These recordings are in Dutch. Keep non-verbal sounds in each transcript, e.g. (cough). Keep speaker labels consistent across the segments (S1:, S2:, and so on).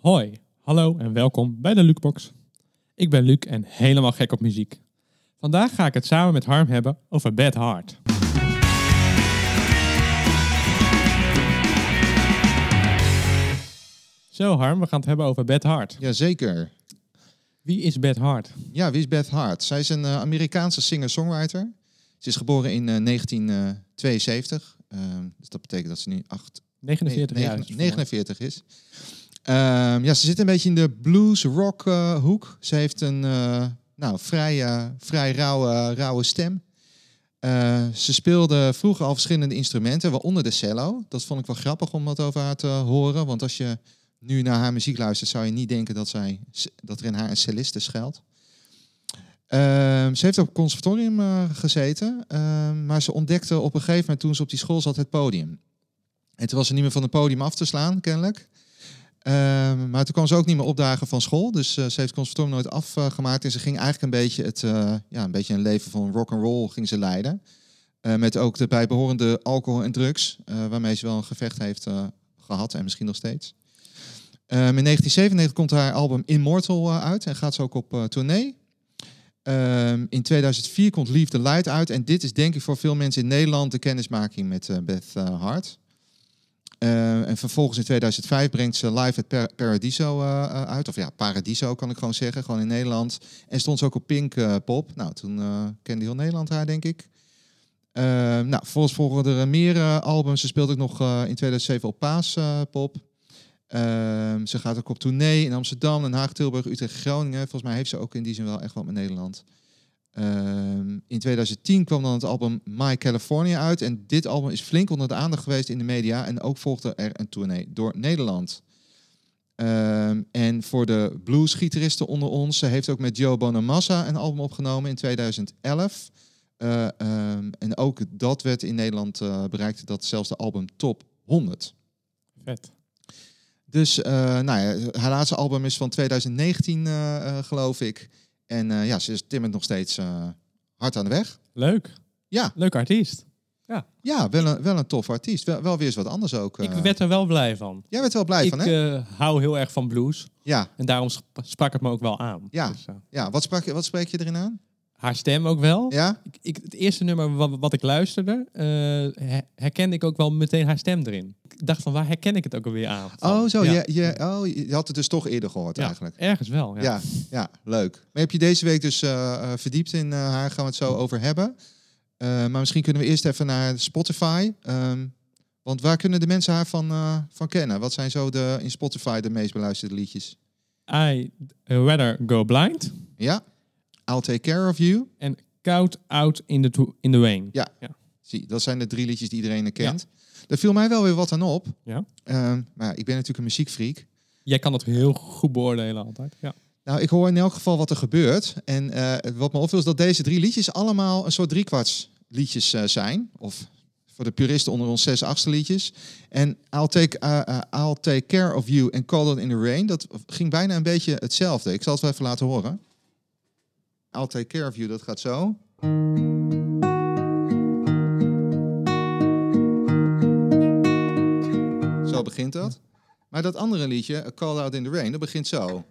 S1: Hoi, hallo en welkom bij de Lukebox. Ik ben Luc en helemaal gek op muziek. Vandaag ga ik het samen met Harm hebben over Bad Heart. Zo Harm, we gaan het hebben over Bad Heart.
S2: Jazeker.
S1: Wie is Bad Heart?
S2: Ja, wie is Beth Hart? Zij is een eh, Amerikaanse singer-songwriter. Ze is geboren in eh, 1972. Ehm, dus dat betekent dat ze nu 8,
S1: 49 jaar. is ze
S2: 49 is. Ehm, ja, ze zit een beetje in de blues-rock eh, hoek. Ze heeft een eh, nou, vrij, eh, vrij rauwe, rauwe stem. Eh, ze speelde vroeger al verschillende instrumenten, waaronder de cello. Dat vond ik wel grappig om wat over haar te horen. Want als je nu naar haar muziek luistert, zou je niet denken dat, zij, dat er in haar een celliste schuilt. Ehm, ze heeft op het conservatorium eh, gezeten, ehm, maar ze ontdekte op een gegeven moment toen ze op die school zat het podium. En toen was ze niet meer van het podium af te slaan, kennelijk. Ehm, maar toen kwam ze ook niet meer opdagen van school. Dus eh, ze heeft het conservatorium nooit afgemaakt. En ze ging eigenlijk een beetje, het, eh, ja, een, beetje een leven van rock and roll ging ze leiden. Eh, met ook de bijbehorende alcohol en drugs, eh, waarmee ze wel een gevecht heeft eh, gehad en misschien nog steeds. Ehm, in 1997 komt haar album Immortal eh, uit en gaat ze ook op eh, tournee. Ehm, in 2004 komt Leave the Light uit. En dit is denk ik voor veel mensen in Nederland de kennismaking met eh, Beth eh, Hart. Eh, en vervolgens in 2005 brengt ze Live at Par- Paradiso eh, eh, uit. Of ja, Paradiso kan ik gewoon zeggen, gewoon in Nederland. En stond ze ook op Pink eh, Pop. Nou, toen eh, kende heel Nederland haar, denk ik. Eh, nou, volgens volgen er meer eh, albums. Ze speelt ook nog eh, in 2007 op Paas eh, Pop. Ehm, ze gaat ook op tournee in Amsterdam, Den Haag, Tilburg, Utrecht, Groningen. Volgens mij heeft ze ook in die zin wel echt wat met Nederland. Ehm, in 2010 kwam dan het album My California uit. En dit album is flink onder de aandacht geweest in de media. En ook volgde er een tournee door Nederland. Ehm, en voor de bluesgitaristen onder ons, ze heeft ook met Joe Bonamassa een album opgenomen in 2011. Eh, ehm, en ook dat werd in Nederland eh, bereikt, dat zelfs de album top 100.
S1: Vet.
S2: Dus eh, nou ja, haar laatste album is van 2019, eh, eh, geloof ik. En eh, ja, ze is timmert nog steeds eh, hard aan de weg.
S1: Leuk.
S2: Ja.
S1: Leuk artiest.
S2: Ja, wel een, wel een tof artiest. Wel, wel weer eens wat anders ook. eh.
S1: Ik werd er wel blij van.
S2: Jij werd wel blij
S1: Ik
S2: van, hè?
S1: eh, hou heel erg van blues.
S2: Ja,
S1: En daarom sp- sprak het me ook wel aan.
S2: Ja.
S1: Dus, eh,
S2: ja. Wat, sprak, je- wat spreek je erin aan?
S1: haar stem ook wel.
S2: Ja?
S1: Oh, ik, ik- het eerste nummer wat, wat ik luisterde, eh, her- herkende ik ook wel meteen haar stem erin. Ik dacht van, waar herken ik het ook alweer aan?
S2: Oh, zo.
S1: Ja.
S2: Je, je, oh, je had het dus toch eerder gehoord
S1: Ja,
S2: eigenlijk.
S1: Ergens wel, ja.
S2: Ja. ja, leuk. Maar heb je deze week dus eh, eh, verdiept in eh, haar? Gaan we het zo over hebben. Eh, maar misschien kunnen we eerst even naar Spotify. Ehm, want waar kunnen de mensen haar van, eh, van kennen? Wat zijn zo de, in Spotify de meest beluisterde liedjes?
S1: I Rather Go Blind
S2: Ja, I'll Take Care of You.
S1: en Cout Out in the, Tw- in the Rain.
S2: Ja. Zie, dat zijn de drie liedjes die iedereen kent. Daar viel mij wel weer wat aan op.
S1: Ja.
S2: Ehm, maar ja, ik ben natuurlijk een muziekfreak.
S1: Jij kan dat heel goed beoordelen altijd. Ja.
S2: Nou, ik hoor in elk geval wat er gebeurt. En eh, wat me opviel is dat deze drie liedjes allemaal een soort driekwarts liedjes eh, zijn. Of voor de puristen onder ons zes achtste liedjes. En I'll take, eh, eh, I'll take Care of You en Call It in the Rain. Dat ging bijna een beetje hetzelfde. Ik zal het wel even laten horen. I'll Take Care of You, dat gaat zo. Zo begint dat. Maar dat andere liedje, A Call Out in the Rain, dat begint zo. Hoor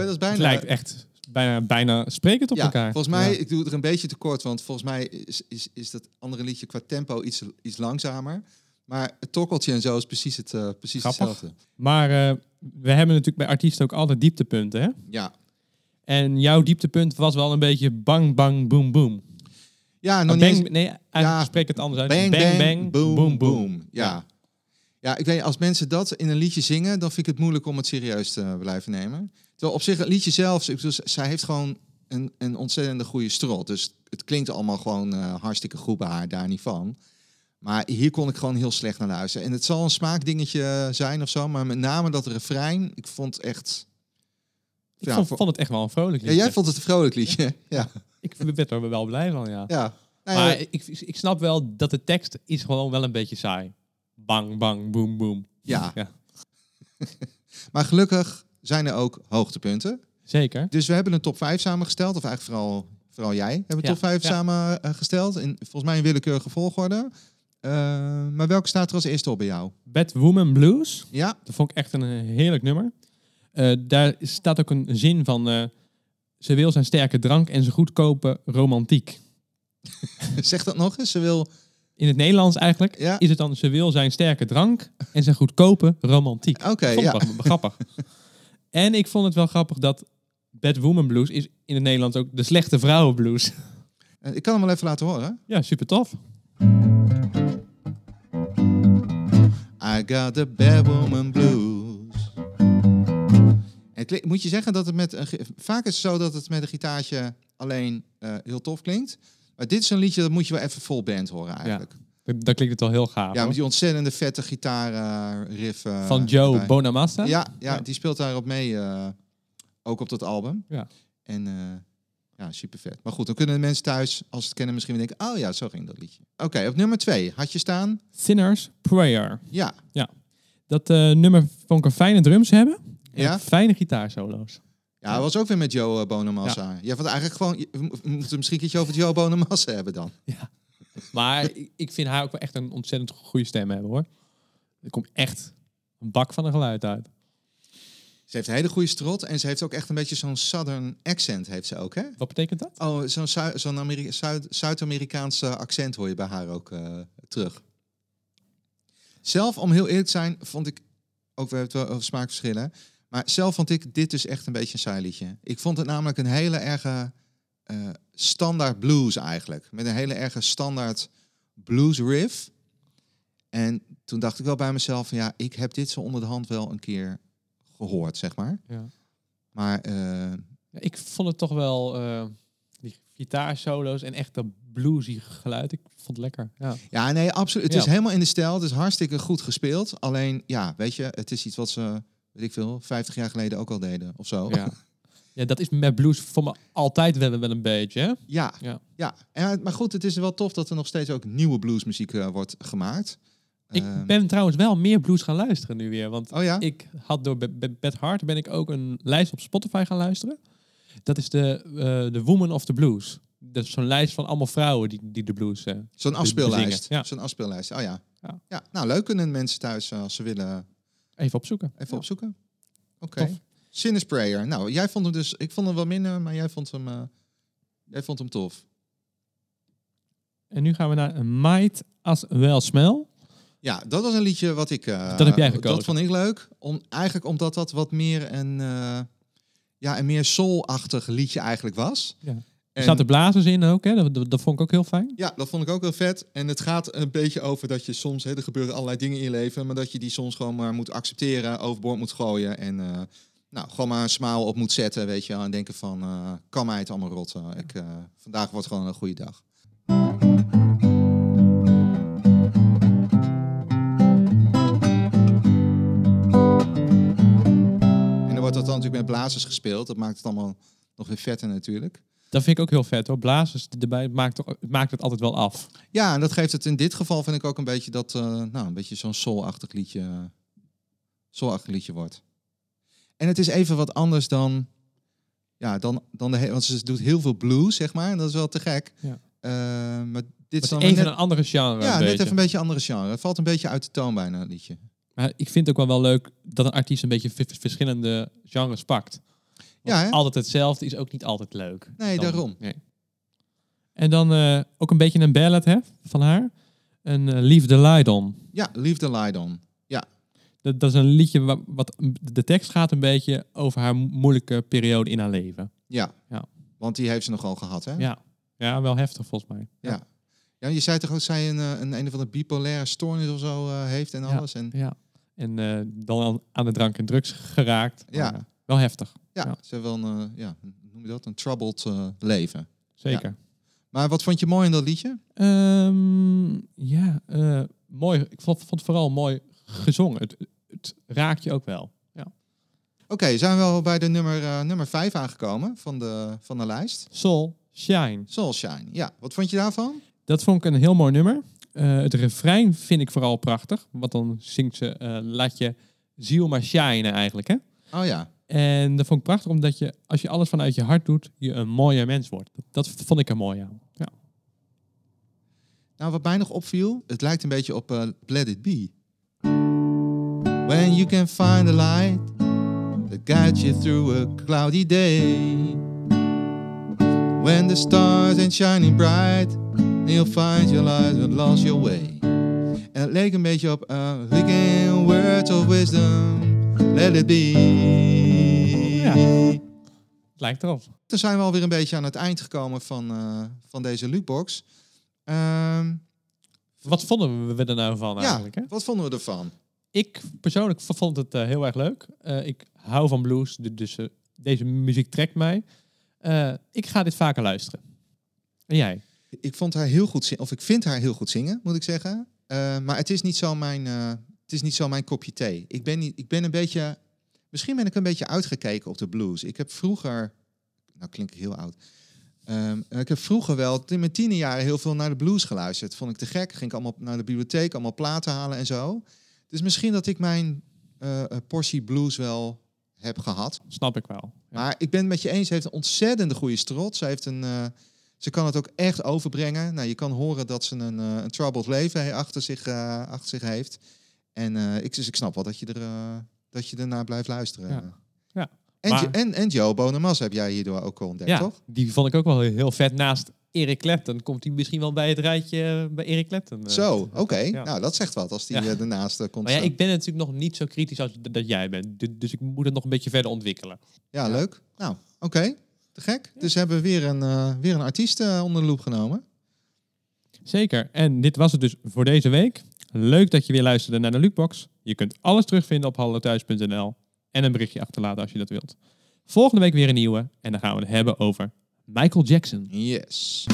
S2: je, dat is bijna...
S1: Het lijkt echt bijna, bijna sprekend op
S2: eh, ja,
S1: elkaar.
S2: Volgens mij,
S1: Ja.
S2: ik doe het er een beetje tekort, want volgens mij is, is, is dat andere liedje qua tempo iets, iets langzamer. Maar het tokkeltje en zo is precies, het, eh, precies
S1: Grappig.
S2: hetzelfde.
S1: Maar eh, we hebben natuurlijk bij artiesten ook altijd dieptepunten, hè?
S2: Ja.
S1: En jouw dieptepunt was wel een beetje bang, bang, boom, boom.
S2: Ja, nog
S1: Ah,
S2: niet eens-
S1: bang, nee, eigenlijk
S2: Ja.
S1: spreek het anders uit.
S2: Bang, bang, boom, boom,
S1: Ja.
S2: Ja. ja, ik weet, als mensen dat in een liedje zingen, dan vind ik het moeilijk om het serieus te blijven nemen. Terwijl op zich het liedje zelf, ik bedoel, z- zij heeft gewoon een, een ontzettende goede strot. Dus het klinkt allemaal gewoon eh, hartstikke goed bij haar, daar niet van. Maar hier kon ik gewoon heel slecht naar luisteren. En het zal een smaakdingetje eh, zijn of zo, maar met name dat refrein, ik vond echt...
S1: Ik
S2: Ja,
S1: vond,
S2: voor-
S1: vond het echt wel een vrolijk
S2: Ja,
S1: liedje.
S2: jij vond het een vrolijk liedje. (laughs) Ja,
S1: Ik werd er wel blij van, ja.
S2: ja. Nou ja,
S1: Maar ik, ik snap wel dat de tekst is gewoon wel een beetje saai. Bang, bang, boom, boom.
S2: ja.
S1: (laughs) Ja.
S2: Maar gelukkig zijn er ook hoogtepunten.
S1: Zeker.
S2: Dus we hebben een top 5 samengesteld. Of eigenlijk vooral, vooral jij hebben een
S1: Ja,
S2: top 5
S1: ja.
S2: samengesteld. In, volgens mij in willekeurige volgorde. Eh, maar welke staat er als eerste op bij jou?
S1: Bad Woman Blues.
S2: Ja, (laughs)
S1: Dat vond ik echt een eh, heerlijk nummer. Eh, daar staat ook een zin van... eh, ze wil zijn sterke drank en zijn goedkope romantiek.
S2: zeg dat nog eens. Ze wil...
S1: In het Nederlands eigenlijk
S2: Ja.
S1: is het dan... ze wil zijn sterke drank en zijn goedkope romantiek.
S2: Oké,
S1: Ik vond
S2: ja.
S1: het wel grappig. (laughs) En ik vond het wel grappig dat... Bad Woman Blues is in het Nederlands ook de slechte vrouwen blues. (laughs)
S2: Eh, Ik kan hem wel even laten horen.
S1: Ja, super tof.
S2: I got the bad woman blues. Het klinkt- moet je zeggen dat het met een... ge- Vaak is het zo dat het met een gitaartje alleen eh, heel tof klinkt. Maar dit is een liedje, dat moet je wel even vol band horen eigenlijk. Ja,
S1: Dan dan klinkt het al heel gaaf. hoor.
S2: met die ontzettende vette gitaarriff. eh,
S1: van Joe
S2: erbij.
S1: Bonamassa.
S2: Ja, ja,
S1: Ja.
S2: die speelt daarop mee. eh, ook op dat album.
S1: Ja.
S2: En eh, ja, super vet. Maar goed, dan kunnen de mensen thuis, als ze het kennen, misschien weer denken... Oh ja, zo ging dat liedje. Oké, op nummer twee had je staan...
S1: Sinner's Prayer.
S2: Ja,
S1: Dat eh, nummer vond ik een fijne drums hebben. En
S2: Ja?
S1: Fijne gitaarsolo's.
S2: Ja, dat was ook weer met Joe eh, Bonamassa. Ja, want eigenlijk gewoon, je- we mo- we moeten het misschien een keertje over Joe Bonamassa hebben dan.
S1: Maar (laughs) ik- ik vind haar ook wel echt een ontzettend goede stem hebben hoor. Er komt echt een bak van een geluid uit.
S2: Ze heeft een hele goede strot en ze heeft ook echt een beetje zo'n southern accent, heeft ze ook, hè?
S1: Wat betekent dat?
S2: Oh, zo'n Zui- zo'n Ameri- Zuid- Zuid-Amerikaanse accent hoor je bij haar ook eh, terug. Zelf, om heel eerlijk te zijn, vond ik, ook we hebben het wel over smaakverschillen, maar zelf vond ik dit dus echt een beetje een saai liedje. Ik vond het namelijk een hele erge eh, standaard blues eigenlijk, met een hele erge standaard blues riff. En toen dacht ik wel bij mezelf, van, ja, ik heb dit zo onder de hand wel een keer gehoord, zeg maar.
S1: Ja.
S2: Maar eh,
S1: Ja, Ik vond het toch wel eh, die gitaarsolo's en echt dat bluesy geluid. Ik vond het lekker. Ja.
S2: Ja, nee, absoluut. Het
S1: Ja.
S2: is helemaal in de stijl. Het is hartstikke goed gespeeld. Alleen, ja, weet je, het is iets wat ze, weet ik veel, 50 jaar geleden ook al deden of zo.
S1: Ja. (laughs) ja, dat is met blues voor me altijd wel, wel een beetje. Hè?
S2: (laughs) Ja,
S1: Ja.
S2: ja. En, eh, maar goed, het is wel tof dat er nog steeds ook nieuwe bluesmuziek eh, wordt gemaakt. Ehm,
S1: Ik ben trouwens wel meer blues gaan luisteren nu weer. Want
S2: Oh ja?
S1: ik had door Be- Be- Beth Hart ben ik ook een lijst op Spotify gaan luisteren. Dat is de, eh de Woman of the Blues. Dat is zo'n lijst van allemaal vrouwen die, die de blues... eh,
S2: Zo'n afspeellijst.
S1: bezingen, ja.
S2: Zo'n afspeellijst. Oh ja.
S1: Ja.
S2: ja. Nou, leuk kunnen mensen thuis, eh, als ze willen,
S1: Even opzoeken.
S2: even
S1: Ja.
S2: opzoeken. Oké.
S1: Tof.
S2: Sinus Prayer. Nou, jij vond hem dus, ik vond hem wel minder, maar jij vond hem, eh, jij vond hem tof.
S1: En nu gaan we naar een Might As Well Smell.
S2: Ja, dat was een liedje wat ik. eh,
S1: Dat heb jij gekozen.
S2: Dat vond ik leuk. Om, eigenlijk omdat dat wat meer een, eh, ja, een meer soul-achtig liedje eigenlijk was.
S1: Ja. Er
S2: En-
S1: zaten blazers in ook, hè? Dat, dat, dat vond ik ook heel fijn.
S2: ja, dat vond ik ook heel vet. En het gaat een beetje over dat je soms, hè, er gebeuren allerlei dingen in je leven, maar dat je die soms gewoon maar moet accepteren, overboord moet gooien en eh, nou, gewoon maar een smaal op moet zetten, weet je wel. En denken van, eh, kan mij het allemaal rotten. Ik, eh, vandaag wordt gewoon een goede dag. En dan wordt dat dan natuurlijk met blazers gespeeld. Dat maakt het allemaal nog weer vetter natuurlijk.
S1: Dat vind ik ook heel vet hoor. Blazers erbij het maakt, toch- het maakt het altijd wel af.
S2: Ja, en dat geeft het in dit geval vind ik ook een beetje dat, eh, nou, een beetje zo'n soul-achtig liedje, soul-achtig liedje wordt. En het is even wat anders dan, ja, dan, dan de, he- want ze doet heel veel blues, zeg maar, en dat is wel te gek.
S1: Ja.
S2: Eh, maar dit
S1: Het
S2: is dan
S1: is even
S2: weer
S1: een andere genre.
S2: ja,
S1: een
S2: net
S1: beetje.
S2: even een beetje een andere genre. Het valt een beetje uit de toon bijna, het liedje.
S1: Maar ik vind het ook wel wel leuk dat een artiest een beetje v- v- verschillende genres pakt. Want
S2: Ja, hè?
S1: altijd hetzelfde is ook niet altijd leuk.
S2: Nee, daarom.
S1: nee. En dan eh, ook een beetje een ballad hè, van haar. Een eh, Leave the Light On.
S2: Ja, Liefde Light On.
S1: Dat, dat is een liedje wa- wat de tekst gaat een beetje over haar mo- moeilijke periode in haar leven.
S2: Ja.
S1: Ja.
S2: Want die heeft ze nogal gehad, hè?
S1: Ja, ja wel heftig volgens mij.
S2: Ja, je zei toch ook dat zij een, eh, een, een of andere bipolaire stoornis of zo eh, heeft en alles. En,
S1: Ja. En eh, dan aan, aan de drank en drugs geraakt.
S2: Ja.
S1: Maar, eh, wel heftig,
S2: ja,
S1: Ja.
S2: ze hebben wel een, eh, ja, hoe noem je dat? Een troubled eh, leven.
S1: zeker.
S2: Maar wat vond je mooi in dat liedje?
S1: Ehm, ja, eh, mooi. Ik vond, vond het vooral mooi gezongen. Het, het raakt je ook wel.
S2: Oké, zijn we wel bij de nummer, eh, nummer 5 aangekomen van de, van de lijst.
S1: Soul Shine.
S2: Soul Shine. Ja, wat vond je daarvan?
S1: Dat vond ik een heel mooi nummer. Eh, het refrein vind ik vooral prachtig. Want dan zingt ze eh, laat je ziel maar shinen eigenlijk. Hè?
S2: Oh ja.
S1: En dat vond ik prachtig omdat je, als je alles vanuit je hart doet, je een mooier mens wordt. Dat, dat vond ik er mooi aan. Ja.
S2: Nou, wat mij nog opviel, het lijkt een beetje op eh, Let It Be. When you can find a light that guides you through a cloudy day. When the stars ain't shining bright, and you'll find your light and lost your way. En het leek een beetje op eh Regain Words of Wisdom, Let It Be.
S1: Ja. Lijkt erop.
S2: Toen zijn we alweer een beetje aan het eind gekomen van, eh, van deze lootbox. Ehm
S1: Wat vonden we er nou van eigenlijk? Hè?
S2: wat vonden we ervan?
S1: Ik persoonlijk v- vond het eh, heel erg leuk. Eh, ik hou van blues, du- dus eh, deze muziek trekt mij. Eh, ik ga dit vaker luisteren. En jij?
S2: Ik vond haar heel goed zingen, of ik vind haar heel goed zingen, moet ik zeggen. Eh, maar het is niet zo mijn, eh, het is niet zo mijn kopje thee. Ik ben, niet, ik ben een beetje, misschien ben ik een beetje uitgekeken op de blues. Ik heb vroeger, nou klink ik heel oud. Ehm, ik heb vroeger wel in mijn tiende jaren heel veel naar de blues geluisterd. Vond ik te gek. Ging ik allemaal naar de bibliotheek, allemaal platen halen en zo. Dus misschien dat ik mijn eh, portie blues wel heb gehad.
S1: Snap ik wel. Ja.
S2: Maar ik ben het met je eens, ze heeft een ontzettende goede strot. Ze, heeft een, eh, ze kan het ook echt overbrengen. Nou, je kan horen dat ze een, eh, een troubled leven he- achter zich, eh, achter zich heeft. En eh, ik, dus ik snap wel dat je, er, eh, dat je ernaar blijft luisteren.
S1: Ja. Ja.
S2: En,
S1: Maar-
S2: Jo- en, en Joe Bonemas heb jij hierdoor ook al ontdekt,
S1: Ja,
S2: toch?
S1: die vond ik ook wel heel vet. Naast Eric Clapton komt hij misschien wel bij het rijtje eh, bij Eric Clapton. eh.
S2: Zo, oké.
S1: Ja.
S2: Nou, dat zegt wat als die
S1: Ja.
S2: eh, ernaast eh, komt
S1: Maar ja,
S2: staan.
S1: ik ben natuurlijk nog niet zo kritisch als d- dat jij bent. Du- Dus ik moet het nog een beetje verder ontwikkelen.
S2: Ja,
S1: Ja.
S2: leuk. Nou, oké. Te gek. Dus hebben we weer een, eh, weer een artiest eh, onder de loep genomen.
S1: Zeker. En dit was het dus voor deze week. Leuk dat je weer luisterde naar de Lukebox. Je kunt alles terugvinden op hallothuis.nl en een berichtje achterlaten als je dat wilt. Volgende week weer een nieuwe en dan gaan we het hebben over Michael Jackson.
S2: Yes.